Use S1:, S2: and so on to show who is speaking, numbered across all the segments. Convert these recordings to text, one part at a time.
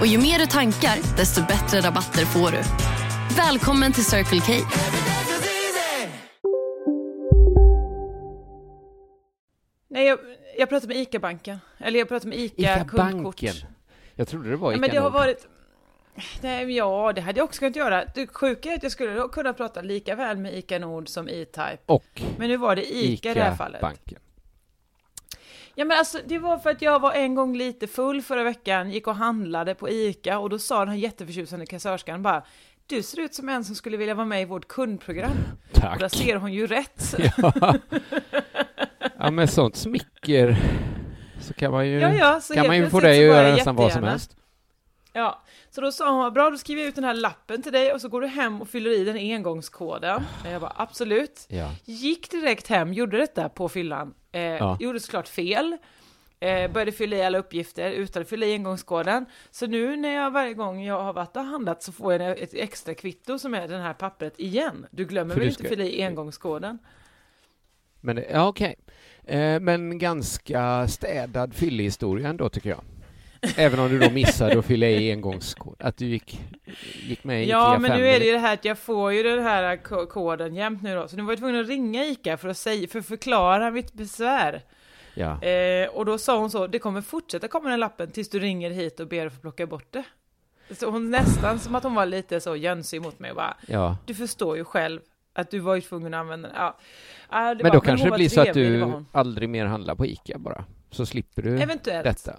S1: Och ju mer du tankar, desto bättre rabatter får du. Välkommen till Circle K.
S2: Nej, jag, jag pratade med ICA-banken. Eller jag pratade med ICA-kundkort.
S3: Ica-banken. Jag trodde det var
S2: Ja,
S3: Ica
S2: men det har
S3: Nord.
S2: varit... Nej, men ja, det hade jag också kunnat göra. Det sjuka är att jag skulle kunna prata lika väl med ICA Nord som E-Type.
S3: Och
S2: Men nu var det ICA, i det här fallet.
S3: Ica-banken.
S2: Ja, men alltså, det var för att jag var en gång lite full förra veckan, gick och handlade på ICA och då sa den här jätteförtjusande kassörskan bara du ser ut som en som skulle vilja vara med i vårt kundprogram. Och där
S3: Tack.
S2: ser hon ju rätt.
S3: Ja. ja, men sånt smicker så kan man ju,
S2: Ja, ja, så
S3: kan
S2: helt
S3: man ju få
S2: plötsligt så
S3: dig att
S2: var jag
S3: göra nästan vad som
S2: jättegärna.
S3: helst.
S2: Ja, så då sa hon, "Vad bra då skriver jag ut den här lappen till dig och så går du hem och fyller i den engångskoden. Och jag bara, absolut.
S3: Ja.
S2: Gick direkt hem, gjorde detta på fyllan. Eh,
S3: Ja.
S2: Gjorde såklart fel. Eh, började fylla i alla uppgifter utan att fylla i engångskoden. Så nu när jag varje gång jag har varit och handlat så får jag ett extra kvitto som är det här pappret igen. Du glömmer
S3: För
S2: väl
S3: du
S2: inte
S3: ska-
S2: fylla i engångskoden?
S3: Men det- ja, okej. Eh, Men ganska städad fyllehistoria ändå, tycker jag. Även om du då missade att fylla i engångskod. Att du gick, gick med i
S2: Ja,
S3: Ikea
S2: men nu
S3: Family.
S2: är det ju det här att jag får ju den här ko- koden jämt nu då. Så nu var jag tvungen att ringa ICA för att, säga, för att förklara mitt besvär.
S3: Ja.
S2: Eh, och då sa hon så, det kommer fortsätta komma den lappen tills du ringer hit och ber att få plocka bort det. Så hon nästan som att hon var lite så jönsig mot mig och bara,
S3: ja.
S2: du förstår ju själv att du var ju tvungen att använda den. Ja. Ja, det
S3: Men
S2: var-
S3: då kanske
S2: hon
S3: det
S2: var
S3: blir så att
S2: trevlig, det var
S3: du
S2: hon.
S3: aldrig mer handlar på Ica bara. Så slipper du
S2: Eventuellt.
S3: detta.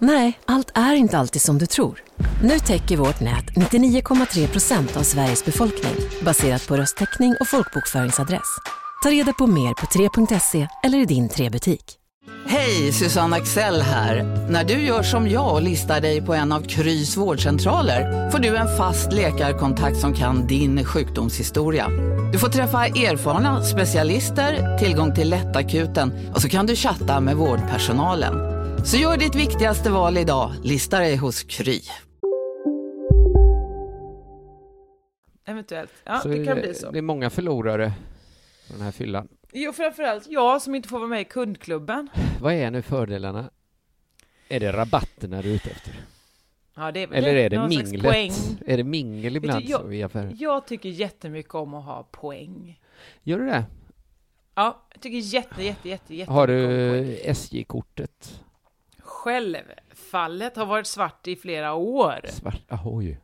S4: Nej, allt är inte alltid som du tror. Nu täcker vårt nät 99,3 procent av Sveriges befolkning baserat på röstteckning och folkbokföringsadress. Ta reda på mer på 3.se eller i din 3-butik.
S5: Hej, Susanne Axel här. När du gör som jag och listar dig på en av Krys vårdcentraler får du en fast läkarkontakt som kan din sjukdomshistoria. Du får träffa erfarna specialister, tillgång till lättakuten och så kan du chatta med vårdpersonalen. Så gör ditt viktigaste val idag, lista dig hos Kry.
S2: Eventuellt, ja
S3: så
S2: det kan bli så.
S3: Det är många förlorare på den här fyllan.
S2: Jo framförallt jag som inte får vara med i kundklubben.
S3: Vad är nu fördelarna? Är det rabatterna du är ute efter?
S2: Ja, det är väl
S3: Eller är det
S2: någon slags
S3: minglet?
S2: poäng.
S3: Är det mingel ibland
S2: jag- Mm.
S3: så i affären?
S2: Jag tycker jättemycket om att ha poäng.
S3: Gör du det?
S2: Ja, jag tycker jätte, jätte, jätte, jätte
S3: Har
S2: mycket om poäng.
S3: du SJ-kortet?
S2: Självfallet har varit svart i flera år.
S3: Svart? Ahoj.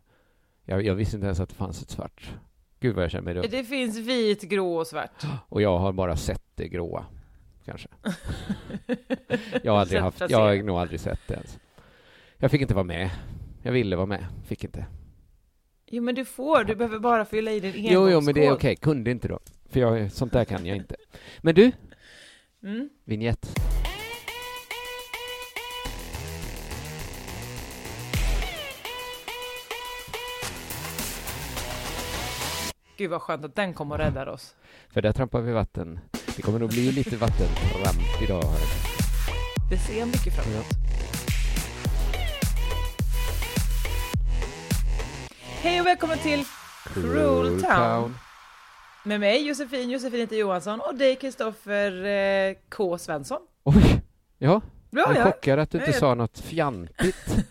S3: Jag, jag visste inte ens att det fanns ett svart. Gud vad jag känner mig dum.
S2: Det finns vit, grå och svart.
S3: Och jag har bara sett det gråa, kanske. jag har aldrig
S2: Sett
S3: haft, jag
S2: placera.
S3: har nog aldrig sett det ens. Jag fick inte vara med. Jag ville vara med, fick inte.
S2: Jo men du får, du behöver bara fylla i din engångskod.
S3: Jo, jo, men det är okej. Kunde inte då. För jag, sånt där kan jag inte. Men du,
S2: Mm.
S3: vignett.
S2: Gud vad skönt att den kom och räddade oss.
S3: För där trampar vi vatten. Det kommer nog bli lite vattentramp idag. hörru.
S2: Det ser jag mycket fram emot. Hej och välkommen till Cruel Town. Med mig Josefin, Josefin heter Johansson och dig Kristoffer eh, K Svensson.
S3: Oj! Ja,
S2: Bra
S3: jag är
S2: ja!
S3: chockad att du inte
S2: Jag
S3: sa något fjantigt.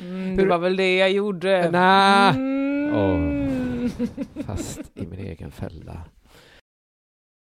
S2: Mm,
S3: Hur-
S2: det var väl det jag gjorde.
S3: Nä.
S2: Mm.
S3: Fast i min egen fälla.